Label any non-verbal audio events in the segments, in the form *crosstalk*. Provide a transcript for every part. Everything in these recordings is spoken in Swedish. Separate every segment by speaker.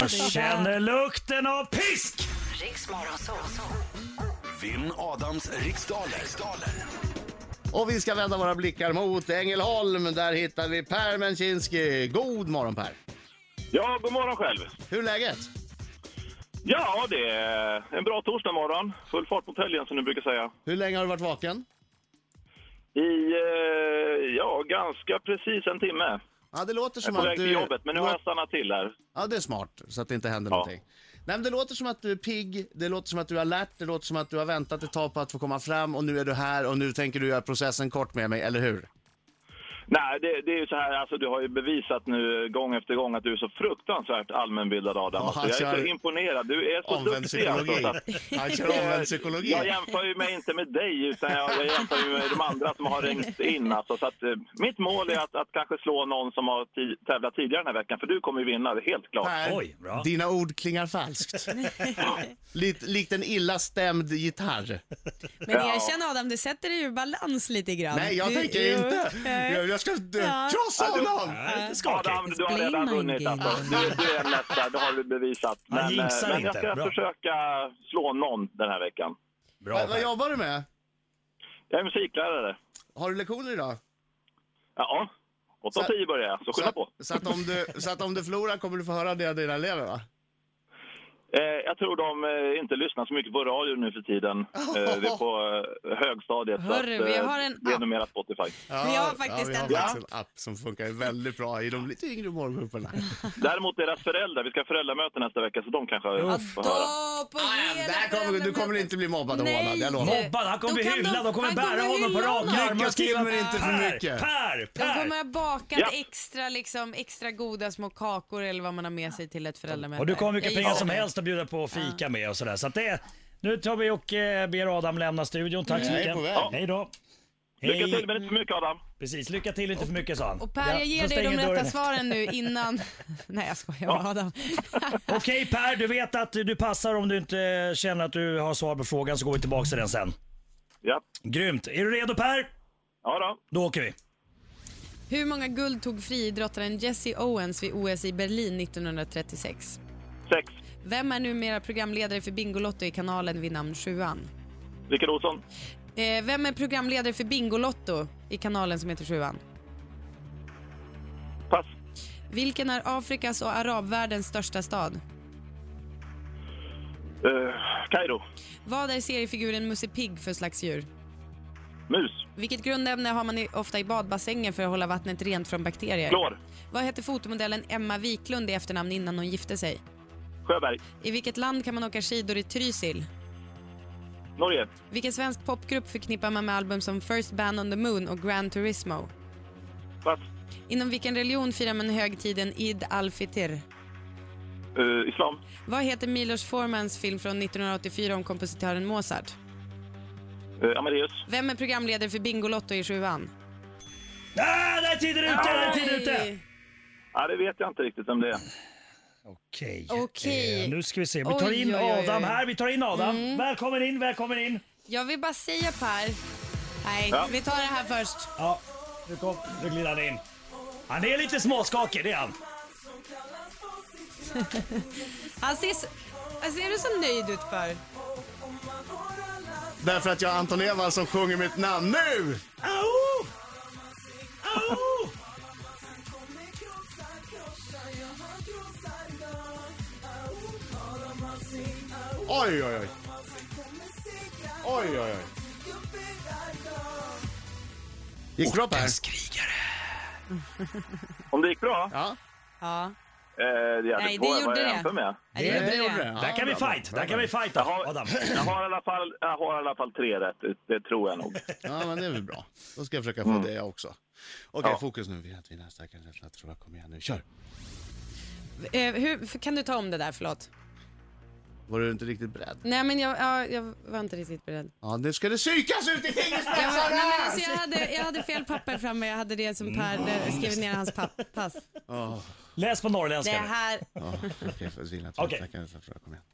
Speaker 1: Jag känner lukten av pisk!
Speaker 2: Riksmorgon så, så.
Speaker 3: Vinn Adams riksdaler. riksdaler.
Speaker 4: Och vi ska vända våra blickar mot Ängelholm. Där hittar vi Per Mencinski. God morgon Per!
Speaker 5: Ja, god morgon själv.
Speaker 4: Hur är läget?
Speaker 5: Ja, det är en bra torsdagmorgon. Full fart mot helgen som du brukar säga.
Speaker 4: Hur länge har du varit vaken?
Speaker 5: I, eh, ja, ganska precis en timme.
Speaker 4: Ja, det låter
Speaker 5: Jag är
Speaker 4: som
Speaker 5: på
Speaker 4: att
Speaker 5: väg
Speaker 4: du...
Speaker 5: till jobbet, men nu har jag stannat till här.
Speaker 4: Ja, det är smart, så att det inte händer
Speaker 5: Ja.
Speaker 4: någonting. Nej, men det låter som att du är pigg, det låter som att du är alert, det låter som att du har väntat ett tag på att få komma fram och nu är du här och nu tänker du göra processen kort med mig, eller hur?
Speaker 5: Nej, det, det är ju så här, alltså du har ju bevisat nu gång efter gång att du är så fruktansvärt allmänbildad Adam.
Speaker 4: Ja,
Speaker 5: alltså, jag är
Speaker 4: kör-
Speaker 5: så imponerad. Du är så
Speaker 4: Omvänd
Speaker 5: duktig alltså.
Speaker 4: psykologi.
Speaker 5: Så att,
Speaker 4: Han kör omvänd psykologi.
Speaker 5: jag jämför ju mig inte med dig, utan jag, jag jämför ju med de andra som har ringt in. Alltså, så att, eh, mitt mål är att, att kanske slå någon som har ti- tävlat tidigare den här veckan, för du kommer ju vinna, det är helt klart.
Speaker 4: Per,
Speaker 1: Oj, bra.
Speaker 4: dina ord klingar
Speaker 5: *laughs*
Speaker 4: falskt. Likt, likt en illa stämd gitarr.
Speaker 6: Men
Speaker 5: Ja.
Speaker 6: erkänn Adam, det sätter dig ur balans lite grann.
Speaker 4: Nej, jag
Speaker 6: Du-
Speaker 4: tänker
Speaker 6: jo,
Speaker 4: inte.
Speaker 6: nej.
Speaker 4: Jag, jag ska eh,
Speaker 6: Ja.
Speaker 4: krossa
Speaker 5: Ja, du-
Speaker 4: honom!
Speaker 1: Nej, lite skakigt.
Speaker 5: Adam, du har
Speaker 6: It's
Speaker 5: redan
Speaker 6: blame
Speaker 5: vunnit
Speaker 6: game.
Speaker 5: alltså. Du, du är en mästare, det har du bevisat.
Speaker 1: Han
Speaker 5: Men, eh,
Speaker 1: jinxar
Speaker 5: men jag
Speaker 1: inte.
Speaker 5: ska
Speaker 1: Bra.
Speaker 5: försöka slå någon den här veckan.
Speaker 1: Bra
Speaker 4: Vad, vad
Speaker 1: Per.
Speaker 4: jobbar du med?
Speaker 5: Jag är musiklärare.
Speaker 4: Har du lektioner idag?
Speaker 5: Ja, 8.10 börjar jag, så
Speaker 4: Så,
Speaker 5: skynda på.
Speaker 4: att- så, att om du, så att om du förlorar kommer du få höra det av dina elever va?
Speaker 5: Eh, jag tror de eh, inte lyssnar så mycket på radio nu för tiden. Eh, det är på eh, högstadiet. så
Speaker 6: Hörru,
Speaker 5: att,
Speaker 6: vi
Speaker 5: eh,
Speaker 6: har en
Speaker 5: det är
Speaker 6: app.
Speaker 5: nog mera Spotify.
Speaker 6: *laughs*
Speaker 4: Ja,
Speaker 6: Vi har faktiskt
Speaker 4: ja, vi
Speaker 6: en
Speaker 4: har faktiskt en app som funkar väldigt bra i de lite yngre målgrupperna.
Speaker 5: Däremot deras föräldrar, vi ska ha föräldramöte nästa vecka så de kanske
Speaker 1: Ja,
Speaker 5: får höra.
Speaker 6: Då på hela
Speaker 4: Där kommer, du kommer inte bli mobbad och hånad, jag lovar.
Speaker 6: Nej.
Speaker 1: Mobbad, Äh, han kommer
Speaker 6: Då
Speaker 1: bli
Speaker 6: kan de-
Speaker 1: hyllad. De kommer
Speaker 6: han
Speaker 1: bära
Speaker 6: kommer
Speaker 1: honom på
Speaker 6: hylla
Speaker 1: raka
Speaker 6: honom.
Speaker 1: armar
Speaker 4: Lycka
Speaker 1: och
Speaker 4: till,
Speaker 1: skriva
Speaker 4: men inte för
Speaker 1: Per,
Speaker 4: mycket."
Speaker 1: Per,
Speaker 6: De kommer
Speaker 1: Per.
Speaker 6: ha bakat
Speaker 5: Ja.
Speaker 6: extra, liksom, extra goda små kakor eller vad man har med sig till ett föräldramöte.
Speaker 1: Och du kommer ha mycket
Speaker 6: Jag
Speaker 1: pengar
Speaker 6: gissar
Speaker 1: som
Speaker 6: det.
Speaker 1: helst att bjuda på och fika med och sådär. Så att det, nu tar vi och eh, ber Adam lämna studion. Tack så
Speaker 4: Jag är
Speaker 1: mycket.
Speaker 4: Mm. på väg.
Speaker 1: Hej då.
Speaker 5: Lycka till
Speaker 1: Hej.
Speaker 5: men inte för mycket Adam.
Speaker 1: Precis, lycka till inte för mycket sa han.
Speaker 6: Och Per,
Speaker 1: Ja,
Speaker 6: jag ger
Speaker 1: så
Speaker 6: dig de
Speaker 1: stänger
Speaker 6: rätta
Speaker 1: dörren. *laughs*
Speaker 6: svaren nu innan... *laughs* Nej, jag skojar bara Adam. *laughs*
Speaker 1: Okej Per, du vet att du passar om du inte känner att du har svar på frågan så går vi tillbaka till den sen.
Speaker 5: Ja,
Speaker 1: Grymt. Är du redo Per?
Speaker 5: ja då.
Speaker 1: Då åker vi.
Speaker 6: Hur många guld tog friidrottaren Jesse Owens vid OS i Berlin 1936?
Speaker 5: Sex.
Speaker 6: Vem är numera programledare för Bingolotto i kanalen vid namn Sjuan?
Speaker 5: Rickard Olsson.
Speaker 6: Eh, vem är programledare för Bingolotto i kanalen som heter Sjuan?
Speaker 5: Pass.
Speaker 6: Vilken är Afrikas och arabvärldens största stad?
Speaker 5: Eh, Kairo.
Speaker 6: Vad är seriefiguren Musse Pigg för slags djur?
Speaker 5: Mus.
Speaker 6: Vilket grundämne har man i, ofta i badbassängen för att hålla vattnet rent från bakterier?
Speaker 5: Klor.
Speaker 6: Vad hette fotomodellen Emma Wiklund i efternamn innan hon gifte sig?
Speaker 5: Sjöberg.
Speaker 6: I vilket land kan man åka skidor i Trysil?
Speaker 5: Norge.
Speaker 6: Vilken svensk popgrupp förknippar man med album som First Band on the Moon och Gran Turismo?
Speaker 5: Pass.
Speaker 6: Inom vilken religion firar man högtiden Eid al-Fitr?
Speaker 5: Eh, islam.
Speaker 6: Vad heter Milos Formans film från 1984 om kompositören Mozart?
Speaker 5: Eh, Amadeus.
Speaker 6: Vem är programledare för Bingolotto i sjuan?
Speaker 1: Ah, där är tiden ute! Där är tiden ute!
Speaker 6: Nej.
Speaker 5: Ja, det vet jag inte riktigt om det är.
Speaker 1: Okej.
Speaker 6: Okej.
Speaker 1: Eh, nu ska vi se. Vi tar
Speaker 6: Oj,
Speaker 1: in
Speaker 6: oj, Mm. oj, oj.
Speaker 1: Adam här. Vi tar in Adam. Välkommen in, välkommen in.
Speaker 6: Jag vill bara säga Per. Nej,
Speaker 5: Ja.
Speaker 6: vi tar det här först.
Speaker 1: Ja, nu, kom, nu glider han in. Han är lite småskakig, det är han.
Speaker 6: Han ser, så- han ser du så nöjd ut för?
Speaker 4: Därför att jag har Anton Ewald som sjunger mitt namn nu!
Speaker 1: Au! Au!
Speaker 4: Oj, oj, oj. Oj, oj, oj. Gick det bra Per?
Speaker 5: Om det gick bra?
Speaker 4: Ja.
Speaker 6: Ja.
Speaker 5: Eh, det är
Speaker 6: Nej,
Speaker 5: svårt.
Speaker 6: det
Speaker 5: Vad
Speaker 6: gjorde
Speaker 5: är
Speaker 6: det.
Speaker 5: jämför med?
Speaker 6: Nej, det gjorde
Speaker 4: gjorde
Speaker 6: det.
Speaker 4: det.
Speaker 1: Där
Speaker 4: Ja,
Speaker 1: kan vi
Speaker 4: bra,
Speaker 1: fight.
Speaker 4: bra,
Speaker 1: Där kan
Speaker 4: bra.
Speaker 1: vi fighta,
Speaker 5: Jag har,
Speaker 1: Adam.
Speaker 5: jag, har i alla fall, jag har i alla fall tre rätt, det, det tror jag nog.
Speaker 4: Ja, men det är väl bra. Då ska jag försöka få det jag också. Okej, fokus nu. Vi har vinnare starkare än rädsla, tror jag. Kom igen nu, kör!
Speaker 6: Eh, hur, för- kan du ta om det där, förlåt?
Speaker 4: Var du inte riktigt beredd?
Speaker 6: Nej, men jag, ja, jag var inte riktigt beredd.
Speaker 4: Ja, nu ska det psykas ut i
Speaker 6: Jag, var, nej, men alltså,
Speaker 4: fingerspetsarna!
Speaker 6: jag, hade, jag hade fel papper framme, jag hade det som Per där, skrev ner i hans papp, pass.
Speaker 1: Läs på
Speaker 6: Det
Speaker 1: norrländska. nu.
Speaker 6: här,
Speaker 4: Ja, Okej, för vila.
Speaker 1: Okej.
Speaker 4: Tack, jag tror jag. Kom igen.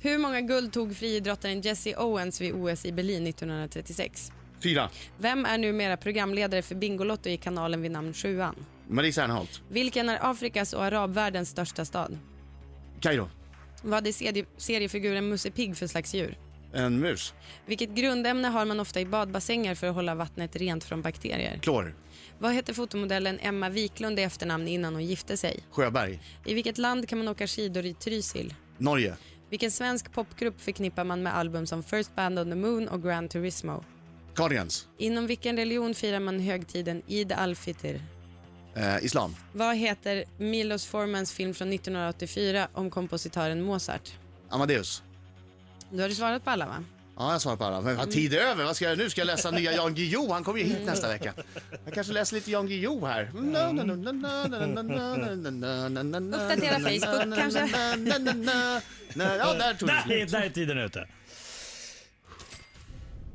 Speaker 6: hur många guld tog friidrottaren Jesse Owens vid OS i Berlin 1936?
Speaker 4: Fyra.
Speaker 6: Vem är numera programledare för Bingolotto i kanalen vid namn Sjuan?
Speaker 4: Marie Serneholt.
Speaker 6: Vilken är Afrikas och arabvärldens största stad?
Speaker 4: Kairo.
Speaker 6: Vad är serie, seriefiguren Musse Pigg för slags djur?
Speaker 4: En mus.
Speaker 6: Vilket grundämne har man ofta i badbassänger för att hålla vattnet rent från bakterier?
Speaker 4: Klor.
Speaker 6: Vad hette fotomodellen Emma Wiklund i efternamn innan hon gifte sig?
Speaker 4: Sjöberg.
Speaker 6: I vilket land kan man åka skidor i Trysil?
Speaker 4: Norge.
Speaker 6: Vilken svensk popgrupp förknippar man med album som First Band on the Moon och Gran Turismo?
Speaker 4: Cardigans.
Speaker 6: Inom vilken religion firar man högtiden Eid al-Fitr?
Speaker 4: Eh, islam.
Speaker 6: Vad heter Milos Formans film från 1984 om kompositören Mozart?
Speaker 4: Amadeus.
Speaker 6: Du har ju svarat på alla va?
Speaker 4: Ja, jag svarar på alla. Men vad tid är över. Vad ska jag, nu ska jag läsa nya Jan Guillou. Han kommer ju hit nästa vecka. Jag kanske läser lite Jan Guillou här.
Speaker 6: Uppdatera Facebook, kanske?
Speaker 4: Ja, där tog det
Speaker 1: Där,
Speaker 4: slut.
Speaker 1: där är tiden ute.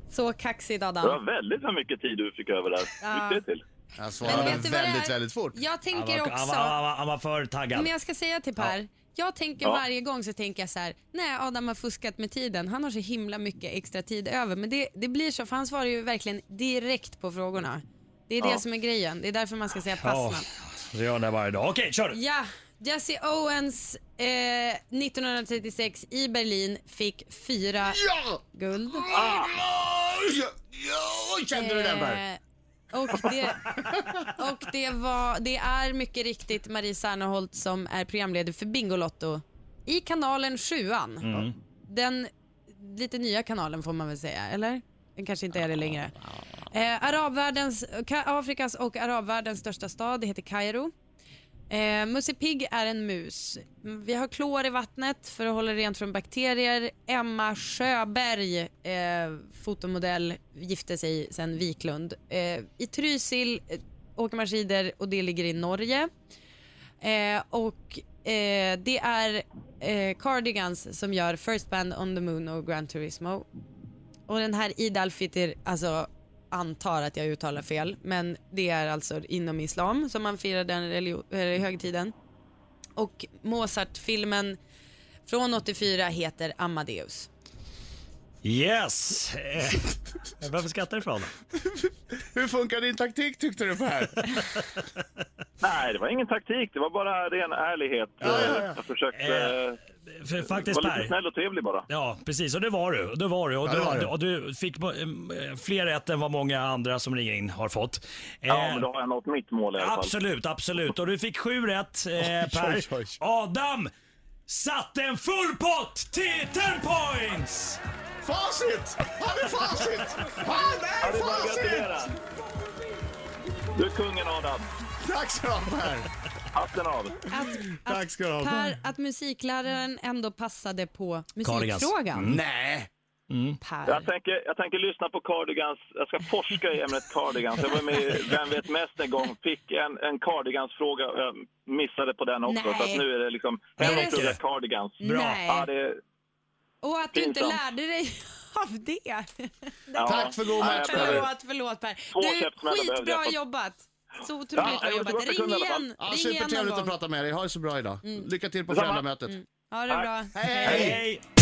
Speaker 6: Så kaxig
Speaker 5: Det var
Speaker 6: Adam.
Speaker 5: väldigt för mycket tid du fick över där.
Speaker 6: Ja.
Speaker 5: Lycka till.
Speaker 4: Jag
Speaker 6: Men
Speaker 4: svarade
Speaker 6: vet du vad det
Speaker 4: väldigt,
Speaker 6: är?
Speaker 4: väldigt fort.
Speaker 6: Jag
Speaker 1: Han var,
Speaker 6: tänker
Speaker 1: han, var, han,
Speaker 6: också,
Speaker 1: var, han var för taggad.
Speaker 6: men jag ska säga till Per, jag tänker
Speaker 5: Ja.
Speaker 6: varje gång så tänker jag så här, nej Adam har fuskat med tiden, han har så himla mycket extra tid över. Men det, det blir så, för han svarar ju verkligen direkt på frågorna. Det är det
Speaker 5: Ja.
Speaker 6: som är grejen, det är därför man ska säga pass.
Speaker 1: Ja,
Speaker 6: man.
Speaker 1: så gör han det varje dag. Okej, kör du.
Speaker 6: Ja, Jesse Owens eh, 1936 i Berlin fick fyra
Speaker 4: Ja!
Speaker 6: guld.
Speaker 4: Ja! ja! Kände du den där?
Speaker 6: Eh, och det, och det, var, det är mycket riktigt Marie Serneholt som är programledare för Bingolotto i kanalen Sjuan. Den lite nya kanalen får man väl säga, eller? Den kanske inte är det längre. Eh, arabvärldens, Ka- Afrikas och arabvärldens största stad heter Kairo. Eh, Musse Pigg är en mus. Mm, Vi har klor i vattnet för att hålla rent från bakterier. Emma Sjöberg, eh, fotomodell, gifte sig sen Wiklund. Eh, I Trysil eh, åker man skidor och det ligger i Norge. Eh, och eh, det är eh, Cardigans som gör First Band on the Moon och Gran Turismo. Och den här Eid al-Fitr, alltså antar att jag uttalar fel, men det är alltså inom islam som man firar den religio- eh, högtiden. Och Mozart-filmen från 84 heter Amadeus.
Speaker 1: Yes! Eh, Varför skrattar du för Adam?
Speaker 4: Hur funkar din taktik tyckte du Per?
Speaker 5: Nej, det var ingen taktik. Det var bara ren ärlighet. Jag försökte
Speaker 1: Eh,
Speaker 5: eh,
Speaker 1: För faktiskt
Speaker 5: vara lite
Speaker 1: Per.
Speaker 5: snäll och trevlig bara.
Speaker 1: Ja, precis. Och det var du. Och det var du. Och,
Speaker 4: Ja, det var
Speaker 1: du,
Speaker 4: du.
Speaker 1: och du fick eh, fler rätt än vad många andra som ringer in har fått.
Speaker 5: Ja,
Speaker 1: Eh,
Speaker 5: men då har jag nått mitt mål i alla fall.
Speaker 1: Absolut, absolut. Och du fick sju rätt eh, Per.
Speaker 4: *laughs* oj, oj.
Speaker 1: Adam satte en full pott till 10 points!
Speaker 4: *laughs* Facit! Han är facit! Han
Speaker 5: Ja,
Speaker 4: är
Speaker 5: det är bara att
Speaker 4: facit!
Speaker 5: gratulera. Du är kungen, Adam.
Speaker 4: Tack ska du ha Per!
Speaker 5: Hatten av.
Speaker 6: Att,
Speaker 4: Tack ska du ha.
Speaker 6: att, per, att musikläraren ändå passade på
Speaker 1: Cardigans.
Speaker 6: musikfrågan.
Speaker 4: Nej!
Speaker 5: Jag
Speaker 6: Per.
Speaker 5: tänker, jag tänker lyssna på Cardigans. Jag ska forska i ämnet Cardigans. Jag var med i Vem vet mest en gång. Fick en, en Cardigans-fråga. Jag missade på den också.
Speaker 6: Nej.
Speaker 5: Så att nu är det liksom...
Speaker 6: Är
Speaker 5: Henrik
Speaker 6: det
Speaker 5: pluggar
Speaker 1: så?
Speaker 5: Cardigans.
Speaker 6: Nej.
Speaker 5: Ja, det,
Speaker 6: Och att du inte
Speaker 5: Pinsamt.
Speaker 6: lärde dig *laughs* av det. *laughs*
Speaker 5: ja.
Speaker 4: Tack för god
Speaker 5: Nej,
Speaker 4: match,
Speaker 5: jag behöver-
Speaker 6: Förlåt, förlåt Per.
Speaker 5: Två
Speaker 6: Du,
Speaker 5: käftsmällar behövde
Speaker 6: skitbra
Speaker 5: jag.
Speaker 6: jobbat. Så otroligt
Speaker 5: Ja,
Speaker 6: bra
Speaker 5: jag
Speaker 6: jobbat.
Speaker 5: gjorde
Speaker 6: Ring
Speaker 5: gott i alla fall.
Speaker 6: igen,
Speaker 4: Ja,
Speaker 6: ring igen någon
Speaker 4: supertrevligt att
Speaker 6: gång.
Speaker 4: prata med dig. Ha det så bra idag. Lycka till på
Speaker 5: Detsamma.
Speaker 4: föräldramötet.
Speaker 6: Ha det bra.
Speaker 4: Hej!
Speaker 1: Hej!